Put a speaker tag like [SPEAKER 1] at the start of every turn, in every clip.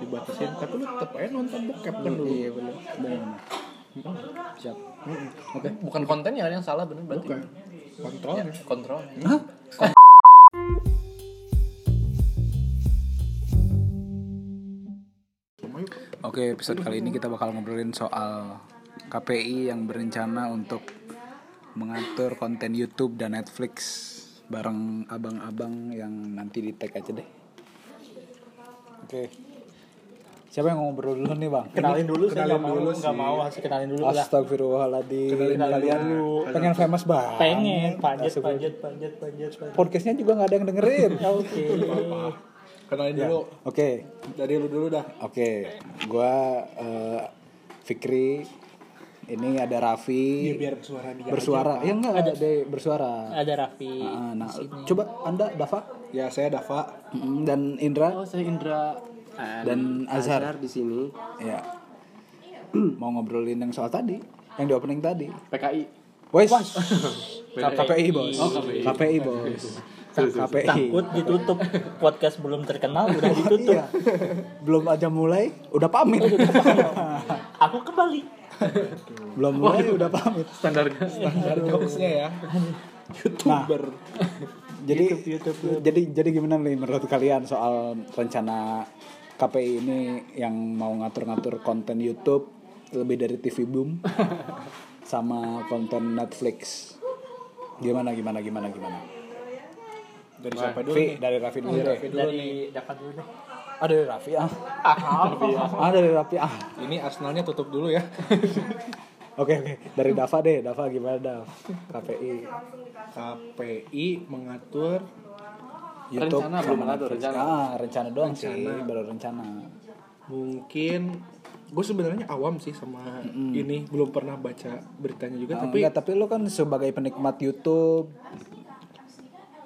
[SPEAKER 1] dibatasin tapi lu tetap aja nonton bokep kan dulu
[SPEAKER 2] Iya benar. Benar. Siap. Oke.
[SPEAKER 3] Bukan kontennya kan yang salah bener berarti. Iya,
[SPEAKER 1] bukan kontrolnya
[SPEAKER 3] Kontrolnya.
[SPEAKER 2] Hah?
[SPEAKER 1] Sama yuk.
[SPEAKER 2] Oke, episode kali ini kita bakal ngobrolin soal KPI yang berencana untuk mengatur konten YouTube dan Netflix bareng abang-abang yang nanti di tag aja deh. Oke. Siapa yang ngobrol dulu nih, Bang?
[SPEAKER 4] kenalin dulu saya
[SPEAKER 1] Kenalin
[SPEAKER 4] nggak mau
[SPEAKER 1] dulu
[SPEAKER 4] nggak mau harus kenalin dulu lah
[SPEAKER 2] Astagfirullahaladzim.
[SPEAKER 4] Kenalin
[SPEAKER 2] Kalian
[SPEAKER 4] dulu.
[SPEAKER 2] pengen famous banget.
[SPEAKER 4] pengen panjat
[SPEAKER 2] Astagfirullah.
[SPEAKER 4] panjat panjat panjat panjat
[SPEAKER 2] Podcastnya juga nggak ada yang dengerin.
[SPEAKER 4] oke
[SPEAKER 1] kenalin
[SPEAKER 4] Iya.
[SPEAKER 1] dulu
[SPEAKER 2] Oke,
[SPEAKER 1] dari lu dulu dah
[SPEAKER 2] oke. Gua eh, Fikri. Ini ada
[SPEAKER 1] Iya,
[SPEAKER 2] Raffi.
[SPEAKER 4] biar suara dia
[SPEAKER 2] bersuara ya enggak ada deh bersuara
[SPEAKER 4] ada Raffi
[SPEAKER 2] Ah, nah coba anda Dava
[SPEAKER 1] ya saya Dava
[SPEAKER 2] Mm, dan Indra
[SPEAKER 5] Oh, saya Indra
[SPEAKER 2] dan Azhar
[SPEAKER 5] di sini.
[SPEAKER 2] ya mau ngobrolin yang soal tadi yang di opening tadi
[SPEAKER 5] PKI.
[SPEAKER 2] Wes. KPI bos
[SPEAKER 4] Oh,
[SPEAKER 2] KPI bos KPI
[SPEAKER 4] takut ditutup podcast belum terkenal udah ditutup
[SPEAKER 2] Iya. belum aja mulai Oh, udah pamit
[SPEAKER 4] aku kembali
[SPEAKER 2] belum mulai udah pamit
[SPEAKER 3] Standar
[SPEAKER 1] ada jokesnya ya youtuber
[SPEAKER 2] Nah, jadi jadi jadi gimana nih menurut kalian soal rencana KPI ini yang mau ngatur-ngatur konten YouTube lebih dari TV Boom sama konten Netflix gimana gimana gimana gimana
[SPEAKER 1] dari siapa dulu
[SPEAKER 2] Raffi dari Raffi dulu deh
[SPEAKER 4] dari dapat dulu deh
[SPEAKER 2] ah dari Raffi ah ah dari Raffi ah
[SPEAKER 1] ini Arsenalnya tutup dulu ya
[SPEAKER 2] oke oke dari Dava deh Dava gimana Dav KPI
[SPEAKER 1] KPI mengatur
[SPEAKER 2] YouTube
[SPEAKER 5] Rencana
[SPEAKER 2] sama
[SPEAKER 5] belum mengatur,
[SPEAKER 2] Netflix.
[SPEAKER 5] rencana.
[SPEAKER 2] ah rencana doang sih baru rencana
[SPEAKER 1] mungkin gue sebenarnya awam sih sama ini belum pernah baca beritanya juga
[SPEAKER 2] tapi
[SPEAKER 1] tapi
[SPEAKER 2] enggak, tapi lu kan sebagai penikmat YouTube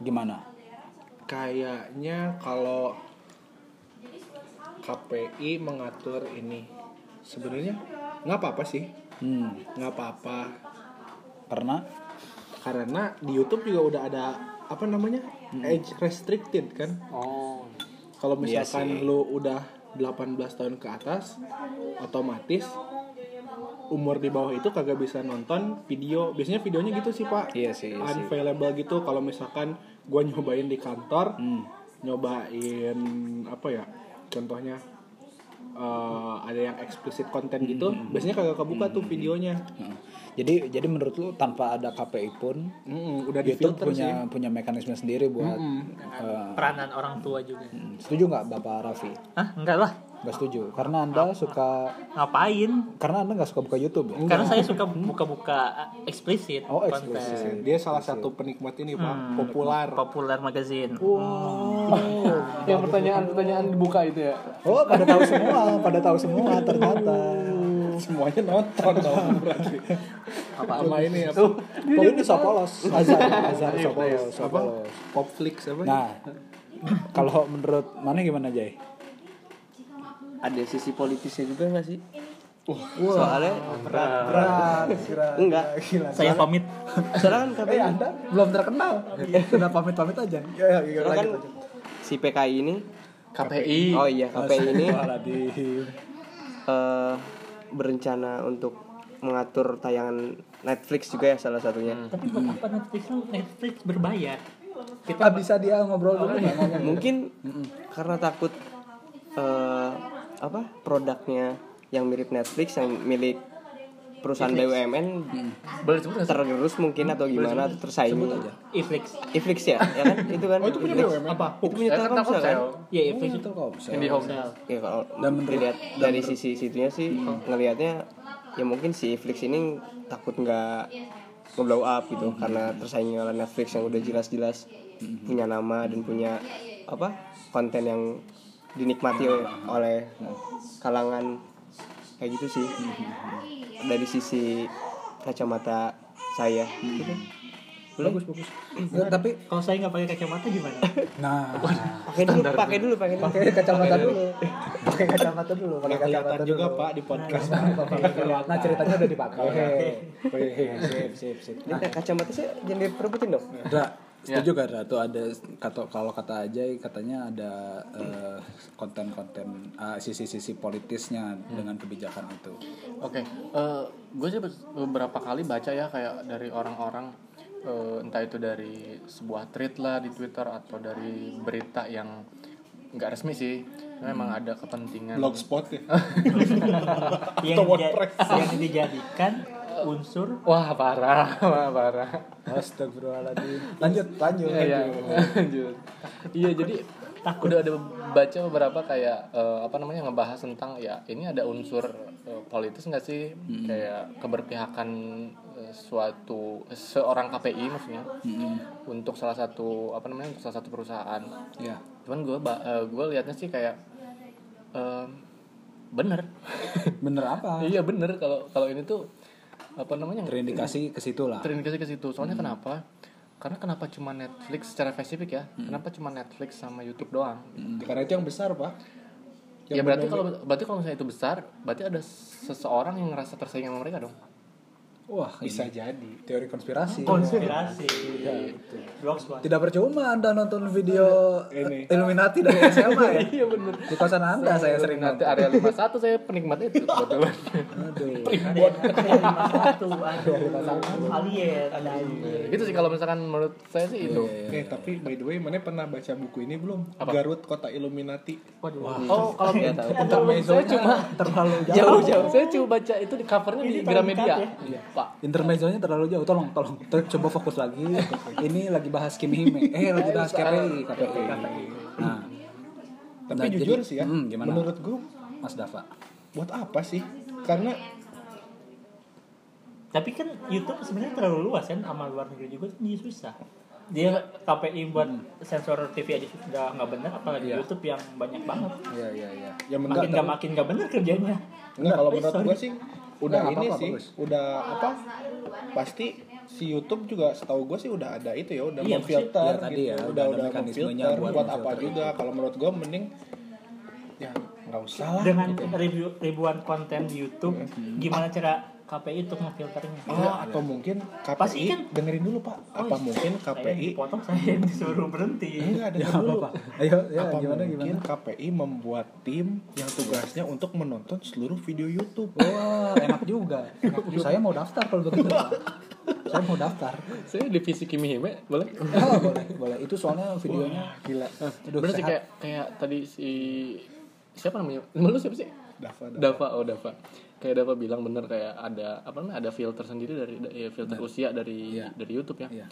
[SPEAKER 2] gimana?
[SPEAKER 1] kayaknya kalau KPI mengatur ini sebenarnya nggak apa-apa sih
[SPEAKER 2] Hmm,
[SPEAKER 1] nggak apa-apa
[SPEAKER 2] karena
[SPEAKER 1] karena di YouTube juga udah ada apa namanya age restricted kan
[SPEAKER 5] Oh.
[SPEAKER 1] kalau misalkan lu udah 18 tahun ke atas otomatis umur di bawah itu kagak bisa nonton video biasanya videonya gitu sih pak
[SPEAKER 2] Iya sih, iya sih.
[SPEAKER 1] unavailable gitu kalau misalkan gua nyobain di kantor
[SPEAKER 2] Hmm.
[SPEAKER 1] nyobain apa ya contohnya eh, ada yang eksplisit konten gitu biasanya kagak kebuka tuh videonya
[SPEAKER 2] Heeh. Hmm. Jadi jadi menurut lu tanpa ada KPI pun
[SPEAKER 1] Mm-mm, udah di
[SPEAKER 2] YouTube
[SPEAKER 1] filter sih
[SPEAKER 2] punya punya mekanisme sendiri buat eh,
[SPEAKER 4] peranan orang tua juga
[SPEAKER 2] hmm. setuju nggak Bapak Raffi?
[SPEAKER 4] Hah? enggak lah
[SPEAKER 2] Gak setuju karena anda suka
[SPEAKER 4] ngapain
[SPEAKER 2] karena anda nggak suka buka YouTube ya?
[SPEAKER 4] karena saya suka buka-buka eh, eksplisit
[SPEAKER 2] Oh,
[SPEAKER 4] konten.
[SPEAKER 1] Iya,
[SPEAKER 2] eksplisit.
[SPEAKER 1] dia salah satu penikmat ini pak populer
[SPEAKER 4] populer magazine
[SPEAKER 5] Yang pertanyaan-pertanyaan dibuka itu ya.
[SPEAKER 2] Oh pada tahu semua, pada tahu semua ternyata.
[SPEAKER 1] semuanya nonton dong berarti cuma ini apa
[SPEAKER 2] Kalau ini Sopolos, Azhar, Azhar
[SPEAKER 5] Iya,
[SPEAKER 1] apa
[SPEAKER 2] Sopolos, Sopolos.
[SPEAKER 1] Popflix apa ya?
[SPEAKER 2] Nah, kalau menurut mana gimana Jay?
[SPEAKER 5] Ada sisi politisnya juga nggak sih? Soalnya
[SPEAKER 2] Berat, berat.
[SPEAKER 5] enggak.
[SPEAKER 4] saya pamit
[SPEAKER 5] Soalnya kan KPI,
[SPEAKER 2] belum terkenal. Sudah pamit-pamit aja.
[SPEAKER 5] soalnya kan si PKI ini
[SPEAKER 3] KPI.
[SPEAKER 5] Oh iya, KPI ini
[SPEAKER 2] Aladin.
[SPEAKER 5] eh, berencana untuk mengatur tayangan Netflix juga ya salah satunya.
[SPEAKER 4] tapi buat apa Netflix Netflix berbayar kita
[SPEAKER 2] Ah, bisa dia ngobrol dulu nggak ngomong?
[SPEAKER 5] Mungkin karena takut eh, apa produknya yang mirip Netflix yang milik perusahaan BUMN
[SPEAKER 3] Boleh disebut nggak sih?
[SPEAKER 5] tergerus mungkin atau gimana atau tersaingi
[SPEAKER 4] Netflix
[SPEAKER 5] Netflix ya, ya kan? Itu kan.
[SPEAKER 1] oh itu punya
[SPEAKER 5] Netflix.
[SPEAKER 1] BUMN apa
[SPEAKER 5] Itu punya
[SPEAKER 3] Saya kan takut
[SPEAKER 5] Telkomsel kan?
[SPEAKER 3] saya.
[SPEAKER 4] ya Netflix itu
[SPEAKER 2] Telkomsel.
[SPEAKER 3] Yang di home.
[SPEAKER 5] Ya kalau
[SPEAKER 2] Dan menurut- Hmm.
[SPEAKER 5] dilihat dari sisi situnya sih ngelihatnya ya mungkin si Netflix ini takut nggak nge-blow up gitu karena tersaingi oleh Netflix yang udah jelas-jelas
[SPEAKER 2] Hmm.
[SPEAKER 5] punya nama dan punya apa konten yang dinikmati oleh
[SPEAKER 2] Hmm.
[SPEAKER 5] kalangan kayak gitu sih dari sisi kacamata saya
[SPEAKER 2] Hmm.
[SPEAKER 5] gitu.
[SPEAKER 2] Bagus bagus. Nggak, Ya, tapi
[SPEAKER 4] kalau saya nggak pakai kacamata gimana
[SPEAKER 2] nah
[SPEAKER 5] pakai dulu pakai dulu pakai dulu
[SPEAKER 2] pakai kacamata dulu. Pakai kacamata dulu. Pakai
[SPEAKER 1] nggak kelihatan
[SPEAKER 2] kacamata
[SPEAKER 1] juga
[SPEAKER 2] dulu.
[SPEAKER 1] pak di podcast
[SPEAKER 2] Nah ceritanya udah dipakai. Sip sip sip.
[SPEAKER 5] Ini kacamata saya jangan diperebutin dong
[SPEAKER 2] Indra, Setuju kan Ratu ada kata kalau kata aja katanya ada eh, konten-konten ah, sisi-sisi politisnya dengan kebijakan itu.
[SPEAKER 3] Oke, gue sih beberapa kali baca ya kayak dari orang-orang eh, entah itu dari sebuah tweet lah di Twitter atau dari berita yang nggak resmi sih, memang ada kepentingan.
[SPEAKER 1] Blogspot ya.
[SPEAKER 4] yang,
[SPEAKER 1] Atau
[SPEAKER 4] dija-
[SPEAKER 1] WordPress.
[SPEAKER 4] yang dijadikan unsur
[SPEAKER 3] Wah parah, wah parah.
[SPEAKER 2] Astagfirullahaladzim. Lanjut, lanjut.
[SPEAKER 3] Iya, iya. Lanjut. Iya, jadi udah ada baca beberapa kayak eh, apa namanya ngebahas tentang ya ini ada unsur eh, politis nggak sih kayak keberpihakan eh, suatu seorang KPI maksudnya untuk salah satu apa namanya untuk salah satu perusahaan.
[SPEAKER 2] Iya.
[SPEAKER 3] Cuman gue gue liatnya sih kayak em, bener.
[SPEAKER 2] Bener apa?
[SPEAKER 3] iya bener kalau kalau ini tuh apa namanya
[SPEAKER 2] Terindikasi ke situ lah.
[SPEAKER 3] terindikasi ke situ. Soalnya kenapa? Karena kenapa cuma Netflix secara spesifik ya? Kenapa cuma Netflix sama YouTube doang?
[SPEAKER 2] Hmm.
[SPEAKER 1] Karena itu yang besar, Pak.
[SPEAKER 3] ya berarti kalau berarti kalau misalnya itu besar, berarti ada seseorang yang ngerasa tersaing sama mereka dong.
[SPEAKER 2] Wah,
[SPEAKER 1] Bisa jadi.
[SPEAKER 2] teori konspirasi.
[SPEAKER 4] Oh, konspirasi
[SPEAKER 5] Iya,
[SPEAKER 4] blogspot
[SPEAKER 2] Tidak percuma Anda nonton video
[SPEAKER 1] Ini.
[SPEAKER 2] eh, Illuminati dari SMA ya.
[SPEAKER 3] Iya benar.
[SPEAKER 2] Di kosan Anda saya sering
[SPEAKER 3] Nanti
[SPEAKER 2] nonton.
[SPEAKER 3] area 51 saya penikmat itu kebetulan.
[SPEAKER 2] Aduh.
[SPEAKER 4] lima satu aduh alien ada alien
[SPEAKER 3] gitu sih kalau misalkan menurut saya sih itu.
[SPEAKER 5] iya.
[SPEAKER 1] Eh, tapi by the way, mana pernah baca buku ini belum?
[SPEAKER 3] Apa?
[SPEAKER 1] Garut Kota Illuminati.
[SPEAKER 4] waduh
[SPEAKER 3] Oh, kalau
[SPEAKER 5] Nggak tahu.
[SPEAKER 3] kalau menurut saya cuma
[SPEAKER 2] terlalu
[SPEAKER 3] iya,
[SPEAKER 2] jauh. ya.
[SPEAKER 3] jauh-jauh. Saya cuma baca itu di covernya di
[SPEAKER 4] Ini
[SPEAKER 3] Gramedia. Iya.
[SPEAKER 4] terangkat
[SPEAKER 3] Pak.
[SPEAKER 2] Intermezzonya terlalu jauh, tolong, tolong. Ter- coba fokus lagi. Ini lagi bahas Kim Hime. Eh, lagi bahas KPI, KPI. Nah,
[SPEAKER 1] Tapi
[SPEAKER 2] Nah,
[SPEAKER 1] jujur
[SPEAKER 2] jadi-
[SPEAKER 1] sih ya,
[SPEAKER 2] hmm, gimana?
[SPEAKER 1] menurut gue
[SPEAKER 2] Mas Dafa.
[SPEAKER 1] buat apa sih? Karena
[SPEAKER 4] tapi kan YouTube sebenarnya terlalu luas kan sama luar negeri juga jadi susah dia KPI buat
[SPEAKER 1] Hmm.
[SPEAKER 4] sensor TV aja sudah nggak benar apalagi
[SPEAKER 1] Iya.
[SPEAKER 4] YouTube yang banyak banget
[SPEAKER 2] Iya, iya, iya.
[SPEAKER 1] ya
[SPEAKER 4] makin
[SPEAKER 1] menurut
[SPEAKER 4] nggak makin nggak benar kerjanya
[SPEAKER 1] Enggak, kalau menurut
[SPEAKER 4] sorry.
[SPEAKER 1] gue sih udah
[SPEAKER 2] Nggak, nggak
[SPEAKER 1] ini
[SPEAKER 2] apa-apa,
[SPEAKER 1] sih,
[SPEAKER 2] bagus.
[SPEAKER 1] udah apa? Pasti si YouTube juga setahu gue sih udah ada itu ya, udah
[SPEAKER 4] Iya,
[SPEAKER 1] memfilter
[SPEAKER 2] maksudnya- Iya, tadi ya,
[SPEAKER 1] gitu,
[SPEAKER 2] udah
[SPEAKER 1] udah
[SPEAKER 2] ada
[SPEAKER 1] udah
[SPEAKER 2] mekanismenya
[SPEAKER 1] memfilter
[SPEAKER 2] buat
[SPEAKER 1] buat, apa
[SPEAKER 2] memfilter
[SPEAKER 1] juga. Kalau menurut gue mending ya nggak usah lah.
[SPEAKER 2] Iya,
[SPEAKER 4] dengan ribu- ribuan konten di YouTube gimana cara KPI untuk memfilternya
[SPEAKER 1] Hmm.
[SPEAKER 2] iya.
[SPEAKER 1] Oh, atau mungkin KPI
[SPEAKER 4] Pasti kan-
[SPEAKER 1] dengerin dulu Pak. Apa
[SPEAKER 4] Oh,
[SPEAKER 1] mungkin
[SPEAKER 4] saya yang
[SPEAKER 1] KPI
[SPEAKER 4] dipotong saya yang disuruh berhenti
[SPEAKER 1] enggak dengerin Iya,
[SPEAKER 2] Apa
[SPEAKER 1] dulu. Iya,
[SPEAKER 2] apa? Ayo, ya,
[SPEAKER 1] apa
[SPEAKER 2] gimana
[SPEAKER 1] mungkin
[SPEAKER 2] gimana?
[SPEAKER 1] KPI membuat tim yang tugasnya untuk menonton seluruh video YouTube?
[SPEAKER 2] Wah, enak juga. Saya mau daftar kalau begitu. Pak. Saya mau daftar.
[SPEAKER 3] Saya divisi Kimi Hime, boleh?
[SPEAKER 2] Oh, boleh, boleh. Itu soalnya videonya gila. Aduh,
[SPEAKER 3] Bener sih
[SPEAKER 2] sehat.
[SPEAKER 3] kayak kayak tadi si siapa namanya? Lu siapa sih?
[SPEAKER 1] Dafa, Dafa.
[SPEAKER 3] Dava oh Dava kayak Dava bilang bener kayak ada apa namanya ada filter sendiri dari da- ya, filter usia dari
[SPEAKER 2] Iya.
[SPEAKER 3] dari YouTube ya
[SPEAKER 2] Iya.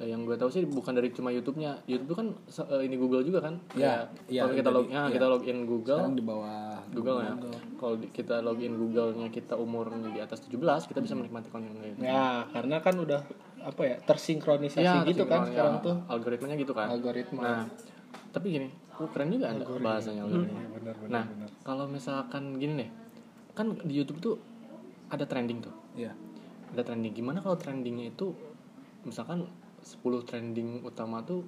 [SPEAKER 3] Eh, yang gue tahu sih bukan dari cuma YouTube-nya YouTube tuh kan se- eh, ini Google juga kan
[SPEAKER 2] Iya,
[SPEAKER 3] Kayak
[SPEAKER 2] iya,
[SPEAKER 3] kalau kita
[SPEAKER 2] jadi-
[SPEAKER 3] log ya,
[SPEAKER 2] iya.
[SPEAKER 3] kita login Google
[SPEAKER 2] Sekarang di bawah
[SPEAKER 3] Google ya kalau di- kita login Google-nya kita umurnya di atas 17 kita bisa menikmati konten itu
[SPEAKER 1] Ya, karena kan udah apa ya tersinkronisasi gitu kan
[SPEAKER 3] tersinkron,
[SPEAKER 1] sekarang
[SPEAKER 3] ya.
[SPEAKER 1] tuh
[SPEAKER 3] algoritmanya gitu kan
[SPEAKER 1] algoritma. Hmm.
[SPEAKER 3] Nah, tapi gini, oh, keren juga ada bahasanya algoritma.
[SPEAKER 1] Iya,
[SPEAKER 3] nah, kalau misalkan gini nih, kan di YouTube tuh ada trending tuh.
[SPEAKER 2] Iya.
[SPEAKER 3] Ada trending. Gimana kalau trendingnya itu misalkan 10 trending utama tuh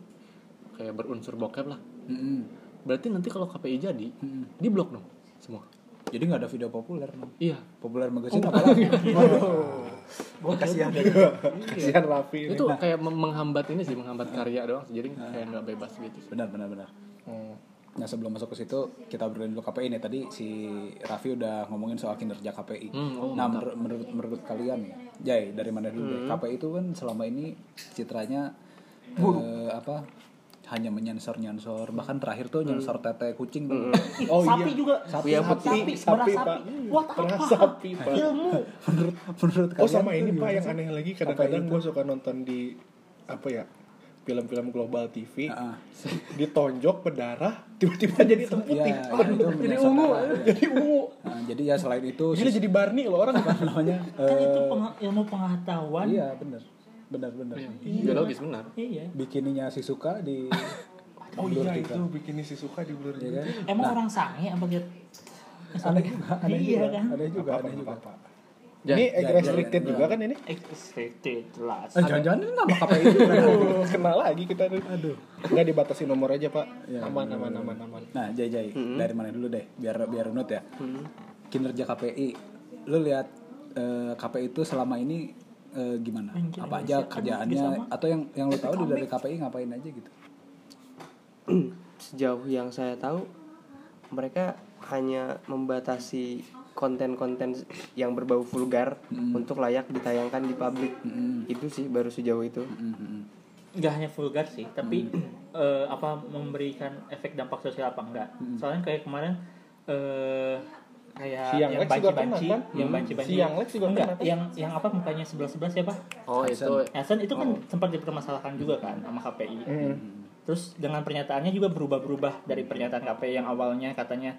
[SPEAKER 3] kayak berunsur bokep lah.
[SPEAKER 2] Mm-mm.
[SPEAKER 3] Berarti nanti kalau KPI jadi,
[SPEAKER 1] Hmm.
[SPEAKER 3] di blok dong semua.
[SPEAKER 2] Jadi nggak ada video populer. Bang.
[SPEAKER 3] Iya.
[SPEAKER 2] Populer magazine apa lagi? Kasihan.
[SPEAKER 1] Kasihan Raffi ini.
[SPEAKER 3] Itu kayak mem- menghambat ini sih, menghambat karya doang. sih. Jadi
[SPEAKER 1] Ah.
[SPEAKER 3] kayak nggak bebas gitu. sih.
[SPEAKER 2] Benar, benar, benar.
[SPEAKER 1] Hmm.
[SPEAKER 2] Nah sebelum masuk ke situ kita obrolin dulu KPI nih tadi si Raffi udah ngomongin soal kinerja KPI.
[SPEAKER 3] Hmm, oh,
[SPEAKER 2] nah menur- menurut menurut kalian nih, Jai dari mana dulu?
[SPEAKER 1] Hmm.
[SPEAKER 2] deh? KPI itu kan selama ini citranya eh, apa? Hanya menyensor nyensor bahkan terakhir tuh
[SPEAKER 1] Hmm.
[SPEAKER 2] nyensor tete kucing tuh.
[SPEAKER 1] Oh
[SPEAKER 4] sapi
[SPEAKER 1] iya.
[SPEAKER 4] juga
[SPEAKER 1] Sapi,
[SPEAKER 4] Merah
[SPEAKER 1] sapi,
[SPEAKER 4] sapi,
[SPEAKER 1] sapi,
[SPEAKER 4] merah
[SPEAKER 1] Pak.
[SPEAKER 4] sapi. Buat
[SPEAKER 1] Merah
[SPEAKER 4] apa?
[SPEAKER 1] sapi, Pak.
[SPEAKER 4] ilmu
[SPEAKER 2] menurut menurut
[SPEAKER 1] Oh
[SPEAKER 2] kalian
[SPEAKER 1] sama
[SPEAKER 2] tuh
[SPEAKER 1] ini Pak
[SPEAKER 2] gimana
[SPEAKER 1] yang
[SPEAKER 2] sih?
[SPEAKER 1] aneh lagi kadang-kadang
[SPEAKER 2] Apa
[SPEAKER 1] gue suka nonton di apa ya film-film global TV
[SPEAKER 2] Ah, ah.
[SPEAKER 1] ditonjok berdarah tiba-tiba jadi hitam putih
[SPEAKER 2] Iya, iya, itu
[SPEAKER 1] jadi
[SPEAKER 2] menyasar
[SPEAKER 1] ungu
[SPEAKER 2] darah, iya.
[SPEAKER 1] jadi ungu
[SPEAKER 2] Nah, jadi ya selain itu
[SPEAKER 1] gila
[SPEAKER 2] sis-
[SPEAKER 1] jadi Barney loh orang
[SPEAKER 2] apa namanya?
[SPEAKER 4] kan itu
[SPEAKER 2] eh,
[SPEAKER 4] peng- ilmu pengetahuan
[SPEAKER 2] iya benar benar benar.
[SPEAKER 3] Biologis benar.
[SPEAKER 4] iya
[SPEAKER 2] Bikininya si suka di
[SPEAKER 1] oh iya itu bikin si suka di blur
[SPEAKER 2] ya kan?
[SPEAKER 1] Nah.
[SPEAKER 4] emang orang sange apa gitu
[SPEAKER 2] aneh juga, aneh
[SPEAKER 4] Iya,
[SPEAKER 2] juga,
[SPEAKER 4] kan?
[SPEAKER 2] aneh juga,
[SPEAKER 1] apa
[SPEAKER 2] aneh juga.
[SPEAKER 1] apa ini egg restricted juga kan ini
[SPEAKER 4] expected jelas
[SPEAKER 1] Ah,
[SPEAKER 2] Eh, jangan-jangan ini nama KPI juga.
[SPEAKER 1] kena lagi kita aduh nggak dibatasi nomor aja pak aman aman aman aman
[SPEAKER 2] Nah, Jai Jai, dari mana dulu deh, biar biar nut ya. Kinerja KPI, lu lihat eh, KPI itu selama ini eh, gimana?
[SPEAKER 4] Mungkin
[SPEAKER 2] Apa aja
[SPEAKER 4] Indonesia kan
[SPEAKER 2] kerjaannya
[SPEAKER 4] juga sama.
[SPEAKER 2] atau yang yang lo tahu di- dari KPI ngapain aja gitu?
[SPEAKER 5] sejauh yang saya tahu mereka hanya membatasi konten-konten yang berbau vulgar untuk layak ditayangkan di publik itu sih baru sejauh itu
[SPEAKER 4] nggak hanya vulgar sih tapi
[SPEAKER 1] Hmm.
[SPEAKER 4] eh, apa memberikan efek dampak sosial apa enggak
[SPEAKER 1] Hmm.
[SPEAKER 4] soalnya kayak kemarin eh kayak
[SPEAKER 1] Siang
[SPEAKER 4] yang
[SPEAKER 1] Lex juga
[SPEAKER 4] banci-banci
[SPEAKER 1] pernah, kan?
[SPEAKER 4] yang banci-banci
[SPEAKER 1] Siang Lex juga
[SPEAKER 4] enggak
[SPEAKER 1] pernah, kan?
[SPEAKER 4] yang yang apa mukanya sebelas sebelas ya pak
[SPEAKER 3] Oh itu
[SPEAKER 4] Hasan itu kan sempat dipermasalahkan juga kan sama KPI
[SPEAKER 2] Hmm.
[SPEAKER 4] terus dengan pernyataannya juga berubah-berubah dari pernyataan KPI yang awalnya katanya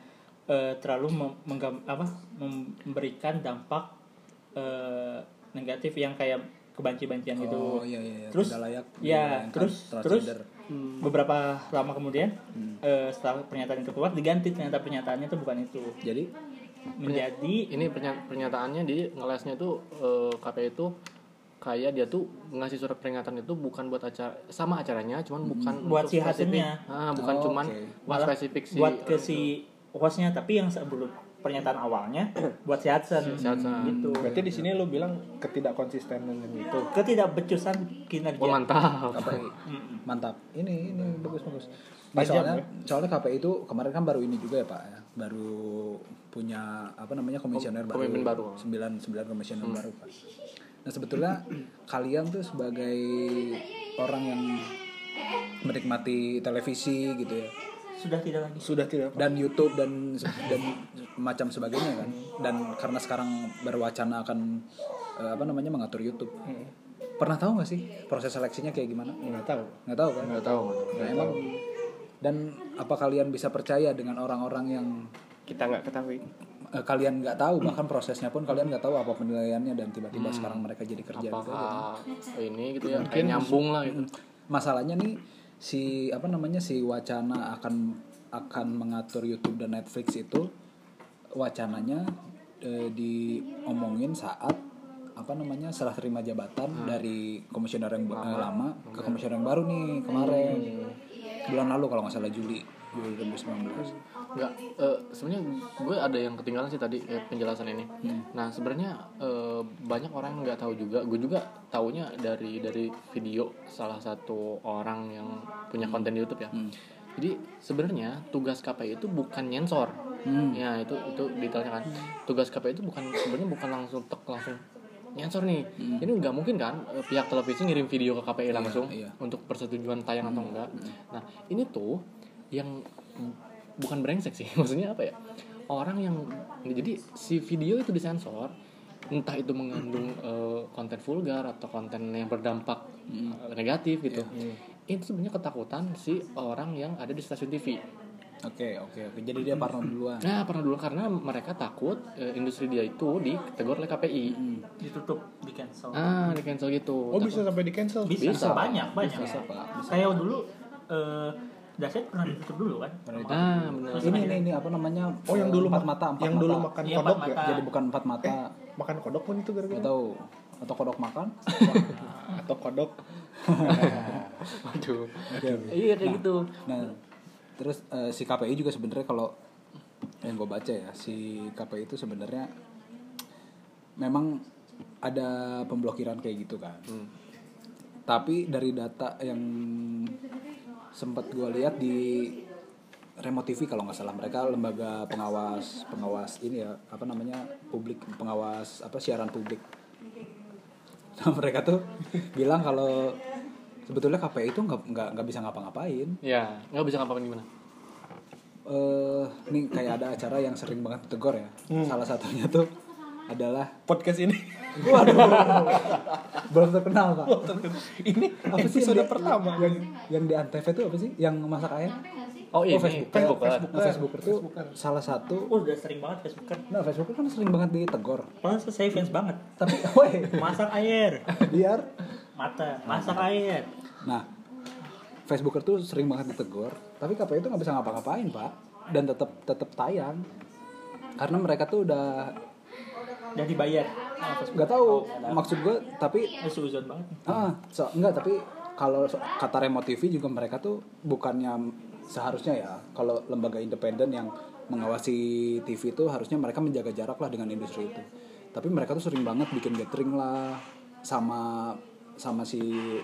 [SPEAKER 4] eh, terlalu mem- menggam- apa, memberikan dampak eh, negatif yang kayak kebanci-bancian
[SPEAKER 2] Oh
[SPEAKER 4] gitu
[SPEAKER 2] iya iya. iya.
[SPEAKER 4] terus
[SPEAKER 2] Tidak layak.
[SPEAKER 4] ya
[SPEAKER 2] dilayangkan
[SPEAKER 4] terus terus
[SPEAKER 2] transgender. Hmm.
[SPEAKER 4] beberapa lama kemudian eh, setelah pernyataan itu keluar diganti ternyata pernyataannya itu bukan itu
[SPEAKER 2] Jadi
[SPEAKER 4] menjadi
[SPEAKER 3] ini pernya- pernyataannya di ngelesnya tuh eh, KPI itu kayak dia tuh ngasih surat peringatan itu bukan buat acara sama acaranya cuman bukan
[SPEAKER 4] Hmm. Buat
[SPEAKER 3] untuk
[SPEAKER 4] si
[SPEAKER 3] spesifik.
[SPEAKER 4] hasilnya.
[SPEAKER 3] Ah, bukan
[SPEAKER 2] Oh,
[SPEAKER 3] cuman
[SPEAKER 2] oke.
[SPEAKER 3] buat spesifik si
[SPEAKER 4] buat ke si hostnya tapi yang sebelum pernyataan awalnya buat si Hudson,
[SPEAKER 3] Hudson.
[SPEAKER 4] gitu
[SPEAKER 1] Berarti di sini lu bilang ketidakkonsistenan itu.
[SPEAKER 4] ketidakbecusan
[SPEAKER 3] Oh,
[SPEAKER 4] kinerja
[SPEAKER 3] mantap.
[SPEAKER 4] ya?
[SPEAKER 2] mantap. Ini ini
[SPEAKER 3] Hmm.
[SPEAKER 2] bagus bagus. Nah, soalnya
[SPEAKER 3] ya?
[SPEAKER 2] soalnya KPI itu kemarin kan baru ini juga ya Pak ya. Baru punya apa namanya komisioner baru.
[SPEAKER 3] Oh, pemimpin baru. Hmm.
[SPEAKER 2] 9 9 komisioner baru Pak. Nah, sebetulnya kalian tuh sebagai orang yang menikmati televisi gitu ya.
[SPEAKER 4] sudah tidak lagi
[SPEAKER 1] Sudah tidak
[SPEAKER 2] dan YouTube dan dan macam sebagainya kan dan karena sekarang berwacana akan eh, apa namanya mengatur YouTube pernah tahu nggak sih proses seleksinya kayak gimana
[SPEAKER 1] nggak tahu.
[SPEAKER 2] nggak tahu kan
[SPEAKER 3] Hmm. Nggak tahu.
[SPEAKER 2] Nah, emang dan apa kalian bisa percaya dengan orang-orang yang
[SPEAKER 5] kita nggak ketahui
[SPEAKER 2] eh, kalian nggak tahu bahkan prosesnya pun kalian nggak tahu apa penilaiannya dan tiba-tiba
[SPEAKER 3] Hmm.
[SPEAKER 2] sekarang mereka jadi kerja gitu ya.
[SPEAKER 3] Apakah ini gitu ya kayak nyambung lah gitu.
[SPEAKER 2] masalahnya nih si apa namanya si wacana akan akan mengatur YouTube dan Netflix itu wacananya eh, diomongin saat apa namanya serah terima jabatan dari komisioner yang ba- eh, lama ke komisioner yang baru nih kemarin bulan lalu kalau nggak salah Juli Juli 2019
[SPEAKER 3] Enggak, eh, sebenarnya gue ada yang ketinggalan sih tadi eh, penjelasan ini. Nah, sebenarnya eh, banyak orang yang nggak tahu juga. Gue juga taunya dari dari video salah satu orang yang punya konten di YouTube ya. Jadi sebenarnya tugas KPI itu bukan nyensor.
[SPEAKER 2] Hmm.
[SPEAKER 3] Ya, itu itu detailnya kan. Tugas KPI itu bukan sebenarnya bukan langsung tek langsung nyensor nih. Ini nggak mungkin kan eh, pihak televisi ngirim video ke KPI langsung
[SPEAKER 2] Hmm. iya. Hmm.
[SPEAKER 3] untuk persetujuan tayang atau enggak. Nah, ini tuh yang bukan brengsek sih, maksudnya apa ya? Orang yang jadi si video itu disensor, entah itu mengandung eh, konten vulgar atau konten yang berdampak
[SPEAKER 2] Hmm.
[SPEAKER 3] eh, negatif gitu.
[SPEAKER 2] Iya,
[SPEAKER 3] Itu sebenarnya ketakutan si orang yang ada di stasiun TV.
[SPEAKER 2] oke oke oke jadi dia parno duluan
[SPEAKER 3] Nah, pernah dulu karena mereka takut eh, industri dia itu ditegur oleh KPI.
[SPEAKER 4] ditutup di cancel
[SPEAKER 3] Ah, di cancel gitu.
[SPEAKER 1] Oh
[SPEAKER 3] Takut-
[SPEAKER 1] bisa sampai di cancel.
[SPEAKER 4] bisa,
[SPEAKER 3] Bisa.
[SPEAKER 4] banyak banyak
[SPEAKER 2] Bisa, Pak.
[SPEAKER 4] saya dulu eh Dasyat pernah ditutup dulu kan
[SPEAKER 3] Ah, benar.
[SPEAKER 4] Terus
[SPEAKER 2] ini
[SPEAKER 4] akhirnya-
[SPEAKER 2] ini ini apa namanya
[SPEAKER 1] Oh yang dulu mak-
[SPEAKER 2] empat
[SPEAKER 1] Eh.
[SPEAKER 2] mata empat
[SPEAKER 1] yang
[SPEAKER 2] mata.
[SPEAKER 1] dulu makan
[SPEAKER 4] Iya,
[SPEAKER 1] kodok
[SPEAKER 4] empat
[SPEAKER 1] ya.
[SPEAKER 4] mata.
[SPEAKER 2] jadi bukan empat mata
[SPEAKER 1] Makan kodok pun itu
[SPEAKER 2] nggak
[SPEAKER 1] gara-gara.
[SPEAKER 2] tahu atau kodok makan
[SPEAKER 1] Atau kodok.
[SPEAKER 3] Aduh. Iya kayak gitu.
[SPEAKER 2] Nah, terus eh, si KPI juga sebenarnya kalau yang gue baca ya, si KPI itu sebenarnya memang ada pemblokiran kayak gitu kan. Tapi dari data yang sempat gue lihat di Remote TV kalau nggak salah mereka lembaga pengawas pengawas ini ya apa namanya publik pengawas apa siaran publik Nah, mereka tuh bilang kalau sebetulnya KPI itu nggak nggak nggak bisa ngapa-ngapain
[SPEAKER 3] Ya, nggak bisa ngapain gimana.
[SPEAKER 2] eh nih kayak ada acara yang sering banget tegur ya. Salah satunya tuh adalah
[SPEAKER 1] Podcast ini.
[SPEAKER 2] belum terkenal pak.
[SPEAKER 1] ini
[SPEAKER 2] Apa sih
[SPEAKER 1] episode
[SPEAKER 2] yang di-
[SPEAKER 1] pertama.
[SPEAKER 2] yang yang di Antv itu apa sih? Yang masak ayam?
[SPEAKER 3] Oh, ini
[SPEAKER 2] Facebook.
[SPEAKER 3] Facebook.
[SPEAKER 2] Nah, Facebooker tuh salah satu.
[SPEAKER 4] oh udah sering banget Facebookan
[SPEAKER 2] Nah Facebooker kan sering banget ditegur.
[SPEAKER 4] padahal saya fans banget
[SPEAKER 2] Tapi, woi,
[SPEAKER 4] masak air
[SPEAKER 2] biar.
[SPEAKER 4] mata masak air
[SPEAKER 2] Nah, Facebooker tuh sering banget ditegur. Tapi KPI itu nggak bisa ngapa-ngapain pak. Dan tetap tetap tayang. Karena mereka tuh udah
[SPEAKER 4] dan dibayar Nah,
[SPEAKER 2] Oh,
[SPEAKER 4] Facebook
[SPEAKER 2] nggak tahu maksud gue tapi
[SPEAKER 4] Eh, suzon banget
[SPEAKER 2] Ah, so, enggak tapi kalau so- kata remote TV juga mereka tuh bukannya seharusnya ya kalau lembaga independen yang mengawasi TV itu harusnya mereka menjaga jarak lah dengan industri itu. Tapi mereka tuh sering banget bikin gathering lah, sama sama si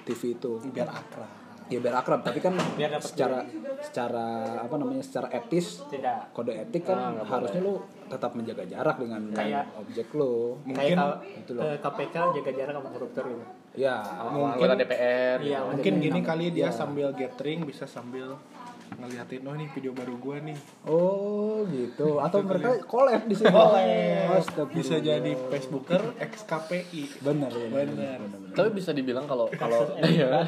[SPEAKER 2] TV itu
[SPEAKER 5] biar akrab
[SPEAKER 2] ya biar akrab tapi kan
[SPEAKER 4] Biar dapat
[SPEAKER 2] secara secara apa namanya secara etis
[SPEAKER 4] Tidak.
[SPEAKER 2] kode etik kan harusnya lu tetap menjaga jarak dengan
[SPEAKER 4] Ah, Kayak-
[SPEAKER 2] objek lu
[SPEAKER 4] Kayak kalau
[SPEAKER 2] itu loh.
[SPEAKER 4] eh, KPK jaga jarak sama koruptor gitu.
[SPEAKER 2] ya
[SPEAKER 3] anggota DPR
[SPEAKER 4] Iya,
[SPEAKER 1] Mungkin gini kali dia sambil gathering bisa sambil ngeliatin oh nih video baru gua nih.
[SPEAKER 2] oh gitu atau mereka collab di sini Oh, Astagfirullah.
[SPEAKER 1] Bisa jadi Facebooker ex KPI.
[SPEAKER 2] bener ya
[SPEAKER 1] Bener.
[SPEAKER 3] tapi bisa dibilang kalau kalau ya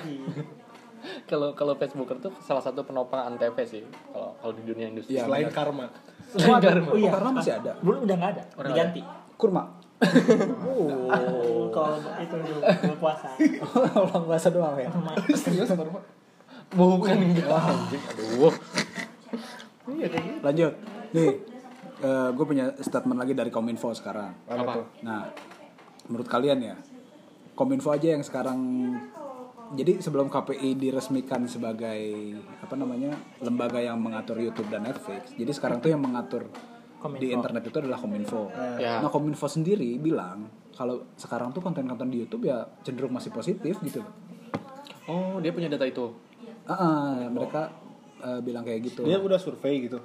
[SPEAKER 3] kalau kalau Facebooker tuh salah satu penopang antv sih kalau kalau di dunia industri
[SPEAKER 2] Iya.
[SPEAKER 1] Selain karma.
[SPEAKER 3] selain Garma.
[SPEAKER 4] Oh, iya.
[SPEAKER 2] karena masih ada
[SPEAKER 4] Dulu udah nggak ada, diganti.
[SPEAKER 2] kurma
[SPEAKER 4] Oh, kalau itu dulu bulan puasa.
[SPEAKER 2] orang bahasa doang ya
[SPEAKER 1] Serius sama rumah?
[SPEAKER 3] bukan enggak anjing aduh
[SPEAKER 2] lanjut nih gue punya statement lagi dari kominfo sekarang
[SPEAKER 3] apa
[SPEAKER 2] Nah, menurut kalian ya, kominfo aja yang sekarang. Jadi sebelum KPI diresmikan sebagai apa namanya lembaga yang mengatur YouTube dan Netflix, jadi sekarang tuh yang mengatur di internet itu adalah kominfo.
[SPEAKER 3] Ya.
[SPEAKER 2] Nah, kominfo sendiri bilang kalau sekarang tuh konten-konten di YouTube ya cenderung masih positif gitu.
[SPEAKER 3] oh dia punya data itu
[SPEAKER 2] Ah, ah, mereka eh, bilang kayak gitu.
[SPEAKER 1] Dia udah survei gitu.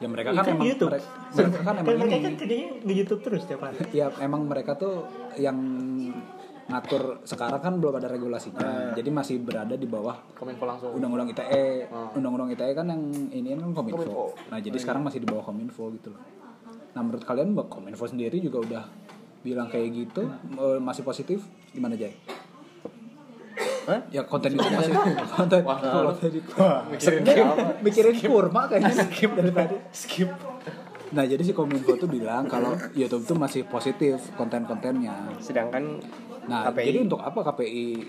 [SPEAKER 2] Ya mereka kan
[SPEAKER 4] Kan
[SPEAKER 2] emang
[SPEAKER 4] YouTube.
[SPEAKER 2] mereka, mereka kan
[SPEAKER 4] Kan
[SPEAKER 2] emang
[SPEAKER 4] mereka
[SPEAKER 2] ini.
[SPEAKER 4] kan kerjanya di YouTube terus tiap hari.
[SPEAKER 2] ya emang mereka tuh yang ngatur sekarang kan belum ada regulasinya jadi masih berada di bawah
[SPEAKER 3] kominfo langsung
[SPEAKER 2] undang-undang ITE undang-undang ITE kan yang ini kan kominfo, nah jadi sekarang masih di bawah kominfo gitu loh nah menurut kalian mbak kominfo sendiri juga udah bilang kayak gitu eh, masih positif gimana Jay?
[SPEAKER 5] Hah?
[SPEAKER 2] Ya konten itu masih konten
[SPEAKER 3] Wah,
[SPEAKER 2] konten itu. Mikirin, mikirin kurma kayaknya skip dari tadi. Skip. Nah jadi si kominfo tuh bilang kalau YouTube tuh masih positif konten-kontennya.
[SPEAKER 5] sedangkan
[SPEAKER 2] Nah,
[SPEAKER 5] KPI.
[SPEAKER 2] jadi untuk apa KPI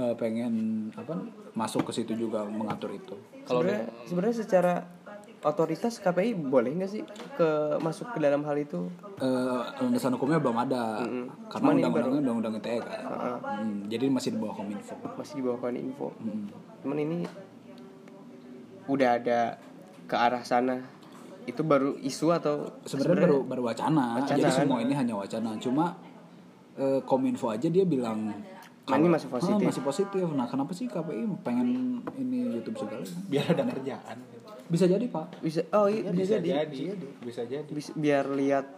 [SPEAKER 2] eh, pengen apa masuk ke situ juga mengatur itu?
[SPEAKER 3] kalau dia
[SPEAKER 5] sebenarnya sebenarnya secara otoritas KPI boleh nggak sih ke masuk ke dalam hal itu
[SPEAKER 2] Eh, landasan hukumnya belum ada karena undang-undangnya undang-undang ITE kan. Hmm, jadi masih di bawah kominfo.
[SPEAKER 5] masih di bawah Kemenkominfo. Hmm. Cuman ini udah ada ke arah sana. Itu baru isu atau
[SPEAKER 2] Sebenarnya baru baru wacana,
[SPEAKER 5] Wacana,
[SPEAKER 2] jadi
[SPEAKER 5] kan?
[SPEAKER 2] semua ini hanya wacana. Cuma eh, kominfo aja dia bilang
[SPEAKER 5] Nah, ini masih
[SPEAKER 2] "Ah,
[SPEAKER 5] positif."
[SPEAKER 2] masih positif. Nah, kenapa sih KPI pengen ini YouTube segala?
[SPEAKER 1] Biar ada kerjaan.
[SPEAKER 2] Bisa jadi pak.
[SPEAKER 5] bisa oh iya
[SPEAKER 1] Bisa
[SPEAKER 5] bisa, jadi
[SPEAKER 1] jadi. Bisa jadi.
[SPEAKER 5] Bis- biar lihat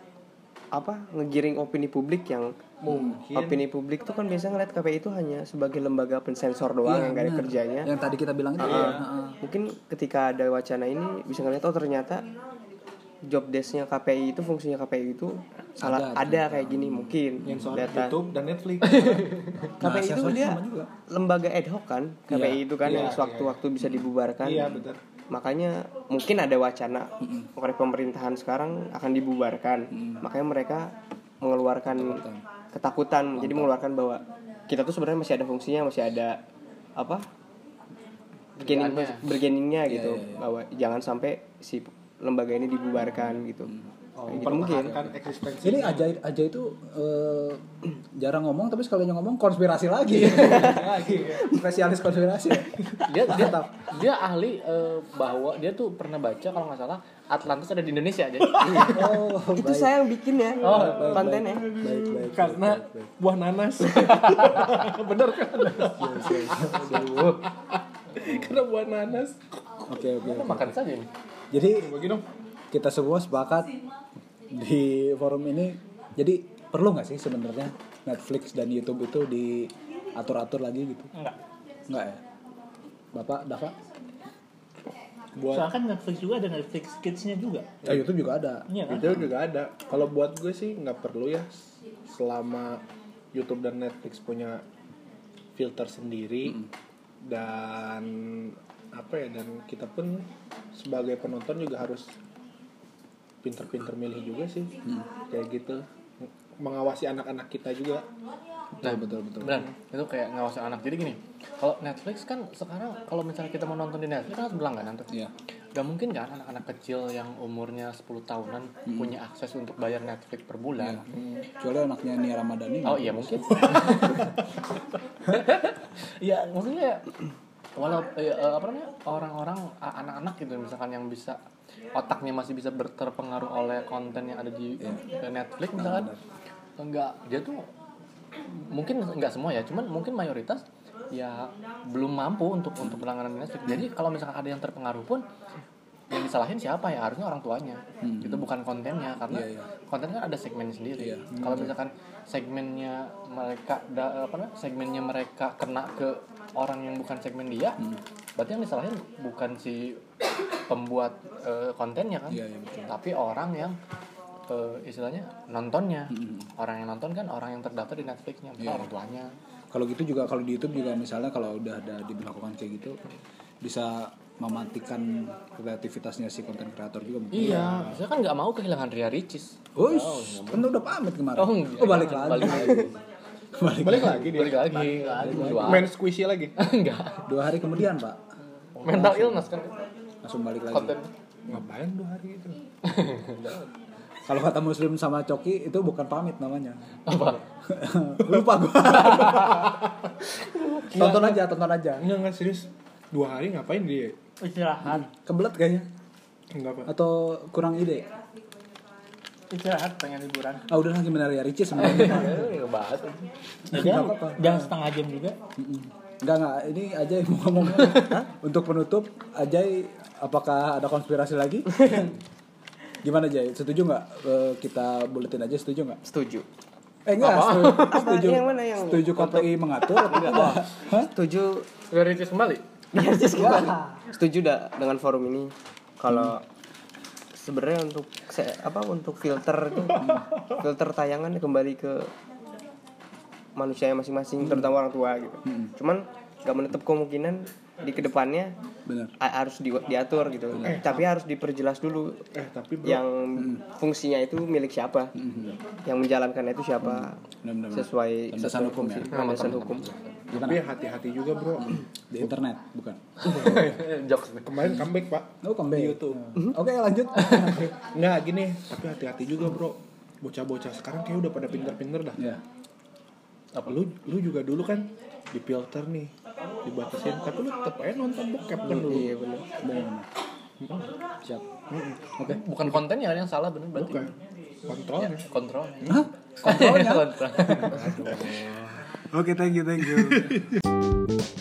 [SPEAKER 5] apa ngegiring opini publik yang
[SPEAKER 1] Mungkin.
[SPEAKER 5] opini publik tuh kan biasa ngeliat KPI itu hanya sebagai lembaga pensensor
[SPEAKER 1] Iya,
[SPEAKER 5] doang yang gak ada
[SPEAKER 2] Benar.
[SPEAKER 5] kerjanya. Ah,
[SPEAKER 2] Yang tadi kita bilang itu. ya. Heeh.
[SPEAKER 5] Mungkin ketika ada wacana ini bisa ngeliat oh ternyata job desknya KPI itu fungsinya KPI itu salah ada, kayak gini mungkin
[SPEAKER 1] Yang soal
[SPEAKER 5] data.
[SPEAKER 1] YouTube dan Netflix.
[SPEAKER 5] KPI itu
[SPEAKER 2] sensornya
[SPEAKER 5] dia
[SPEAKER 2] Nah, sama juga.
[SPEAKER 5] lembaga ad hoc kan KPI itu
[SPEAKER 1] Iya,
[SPEAKER 5] kan yang sewaktu-waktu bisa dibubarkan
[SPEAKER 1] Iya, betul.
[SPEAKER 5] makanya mungkin ada wacana oleh pemerintahan sekarang akan dibubarkan makanya mereka mengeluarkan ketakutan, jadi mengeluarkan bahwa kita tuh sebenarnya masih ada fungsinya masih ada apa bergening bergeningnya
[SPEAKER 2] Iya,
[SPEAKER 5] gitu bahwa jangan sampai si lembaga ini dibubarkan gitu
[SPEAKER 2] Mm.
[SPEAKER 5] Kayak gitu mungkin
[SPEAKER 1] Mempertahankan Kan eksistensi.
[SPEAKER 2] Ini aja aja itu eh, jarang ngomong tapi sekalinya ngomong konspirasi lagi.
[SPEAKER 1] Iya.
[SPEAKER 2] Spesialis konspirasi.
[SPEAKER 3] dia dia, dia ahli eh, bahwa dia tuh pernah baca kalau nggak salah Atlantis ada di Indonesia aja
[SPEAKER 2] Oh,
[SPEAKER 5] itu saya yang bikin ya kontennya
[SPEAKER 2] baik baik.
[SPEAKER 1] karena buah nanas bener kan karena buah nanas
[SPEAKER 2] Oke oke. oke.
[SPEAKER 3] makan saja ini
[SPEAKER 2] Jadi
[SPEAKER 1] bagi dong
[SPEAKER 2] kita semua sepakat di forum ini. Jadi perlu nggak sih sebenarnya Netflix dan YouTube itu diatur-atur lagi gitu?
[SPEAKER 4] Enggak.
[SPEAKER 2] Enggak ya. Bapak, Dava?
[SPEAKER 4] Soalnya kan Netflix juga ada Netflix Kids-nya juga.
[SPEAKER 2] Eh, YouTube juga ada.
[SPEAKER 4] Iya kan?
[SPEAKER 1] itu juga ada kalau buat gue sih nggak perlu ya selama YouTube dan Netflix punya filter sendiri dan apa ya dan kita pun sebagai penonton juga harus pinter-pinter milih juga sih kayak gitu mengawasi anak-anak kita juga
[SPEAKER 3] nah betul betul benar itu kayak ngawasin anak jadi gini kalau Netflix kan sekarang kalau misalnya kita mau nonton di Netflix kan harus berlangganan tuh
[SPEAKER 2] Iya.
[SPEAKER 3] Gak mungkin kan anak-anak kecil yang umurnya 10 tahunan punya akses untuk bayar Netflix per bulan.
[SPEAKER 2] Kecuali anaknya Nia Ramadhani.
[SPEAKER 3] Oh iya mungkin. ya maksudnya walau eh, eh, apa namanya orang-orang eh, anak-anak gitu misalkan yang bisa otaknya masih bisa ber- terpengaruh oleh konten yang ada di eh, Netflix misalkan enggak dia tuh mungkin nggak semua ya cuman mungkin mayoritas ya belum mampu untuk untuk penanganan Netflix jadi kalau misalkan ada yang terpengaruh pun yang disalahin siapa ya harusnya orang tuanya
[SPEAKER 2] Hmm.
[SPEAKER 3] itu bukan kontennya karena
[SPEAKER 2] Iya,
[SPEAKER 3] konten kan ada segmen sendiri kalau
[SPEAKER 2] Hmm.
[SPEAKER 3] misalkan segmennya mereka da, apa namanya, segmennya mereka kena ke orang yang bukan segmen dia
[SPEAKER 2] Hmm.
[SPEAKER 3] berarti yang disalahin bukan si pembuat eh, kontennya kan
[SPEAKER 2] Iya, iya, betul.
[SPEAKER 3] tapi orang yang eh, istilahnya nontonnya orang yang nonton kan orang yang terdaftar di Netflixnya bukan orang tuanya
[SPEAKER 2] Kalau gitu juga kalau di YouTube juga misalnya kalau udah ada diberlakukan kayak gitu bisa mematikan kreativitasnya si konten kreator juga mungkin.
[SPEAKER 3] iya saya kan nggak mau kehilangan Ria Ricis
[SPEAKER 2] Wush, kan udah pamit kemarin. Oh,
[SPEAKER 3] Oh, iya.
[SPEAKER 2] balik lagi. Balik
[SPEAKER 3] Balik lagi.
[SPEAKER 2] lagi.
[SPEAKER 1] balik lagi dia
[SPEAKER 3] balik lagi Dua.
[SPEAKER 1] main squishy lagi
[SPEAKER 3] enggak
[SPEAKER 2] Dua hari kemudian, Pak.
[SPEAKER 3] mental illness kan
[SPEAKER 2] Langsung balik lagi.
[SPEAKER 3] konten
[SPEAKER 1] ngapain dua hari itu
[SPEAKER 2] Kalau kata Muslim sama Coki itu bukan pamit namanya.
[SPEAKER 3] apa
[SPEAKER 2] Lupa gua. tonton aja, tonton aja.
[SPEAKER 1] enggak enggak serius dua hari ngapain dia
[SPEAKER 4] istirahat
[SPEAKER 2] Kebelet kayaknya
[SPEAKER 1] enggak pak
[SPEAKER 2] atau kurang ide.
[SPEAKER 4] istirahat pengen liburan
[SPEAKER 2] Ah udah lagi menarik ya Ricis sebenarnya.
[SPEAKER 3] Eh, ngebahas
[SPEAKER 4] jangan,
[SPEAKER 2] apa-apa.
[SPEAKER 4] jangan setengah Iya. jam juga
[SPEAKER 2] Mm-mm. Enggak enggak, ini Ajay mau ngomong. Hah? Untuk penutup, Ajay apakah ada konspirasi lagi? Gimana Jay? Setuju nggak eh, kita buletin aja setuju nggak?
[SPEAKER 5] setuju
[SPEAKER 2] Eh enggak, setuju. setuju.
[SPEAKER 5] Yang mana yang-
[SPEAKER 2] setuju KPI mengatur atau enggak? Hah?
[SPEAKER 5] setuju
[SPEAKER 3] Ria Ricis kembali
[SPEAKER 5] Iya. setuju dah dengan forum ini kalau sebenarnya untuk se- apa untuk filter tuh, filter tayangan kembali ke manusia yang masing-masing terutama orang tua gitu cuman gak menutup kemungkinan di kedepannya
[SPEAKER 2] Benar.
[SPEAKER 5] a- harus di- diatur gitu tapi harus diperjelas dulu
[SPEAKER 1] eh tapi bro
[SPEAKER 5] yang fungsinya itu milik siapa yang menjalankan itu siapa
[SPEAKER 2] Benar-benar.
[SPEAKER 5] sesuai
[SPEAKER 2] Landasan hukum ya.
[SPEAKER 5] landasan hukum
[SPEAKER 1] tapi hati-hati juga bro
[SPEAKER 2] Di internet, bukan.
[SPEAKER 3] jokes nih
[SPEAKER 1] kemarin comeback pak
[SPEAKER 2] Oh, kembali.
[SPEAKER 1] YouTube.
[SPEAKER 2] Oke, lanjut.
[SPEAKER 1] nggak gini tapi hati-hati juga bro bocah-bocah sekarang kayak udah pada pinter-pinter dah
[SPEAKER 2] ya.
[SPEAKER 1] lu lu juga dulu kan di filter nih dibatasin tapi lu tetap aja nonton bokep kan dulu
[SPEAKER 5] iya benar
[SPEAKER 2] Benar. Siap. Oke.
[SPEAKER 3] bukan kontennya yang salah bener berarti Iya,
[SPEAKER 1] bukan kontrolnya
[SPEAKER 3] kontrolnya
[SPEAKER 2] Hah?
[SPEAKER 3] Iya, kontrolnya
[SPEAKER 2] Oke, thank you, thank you.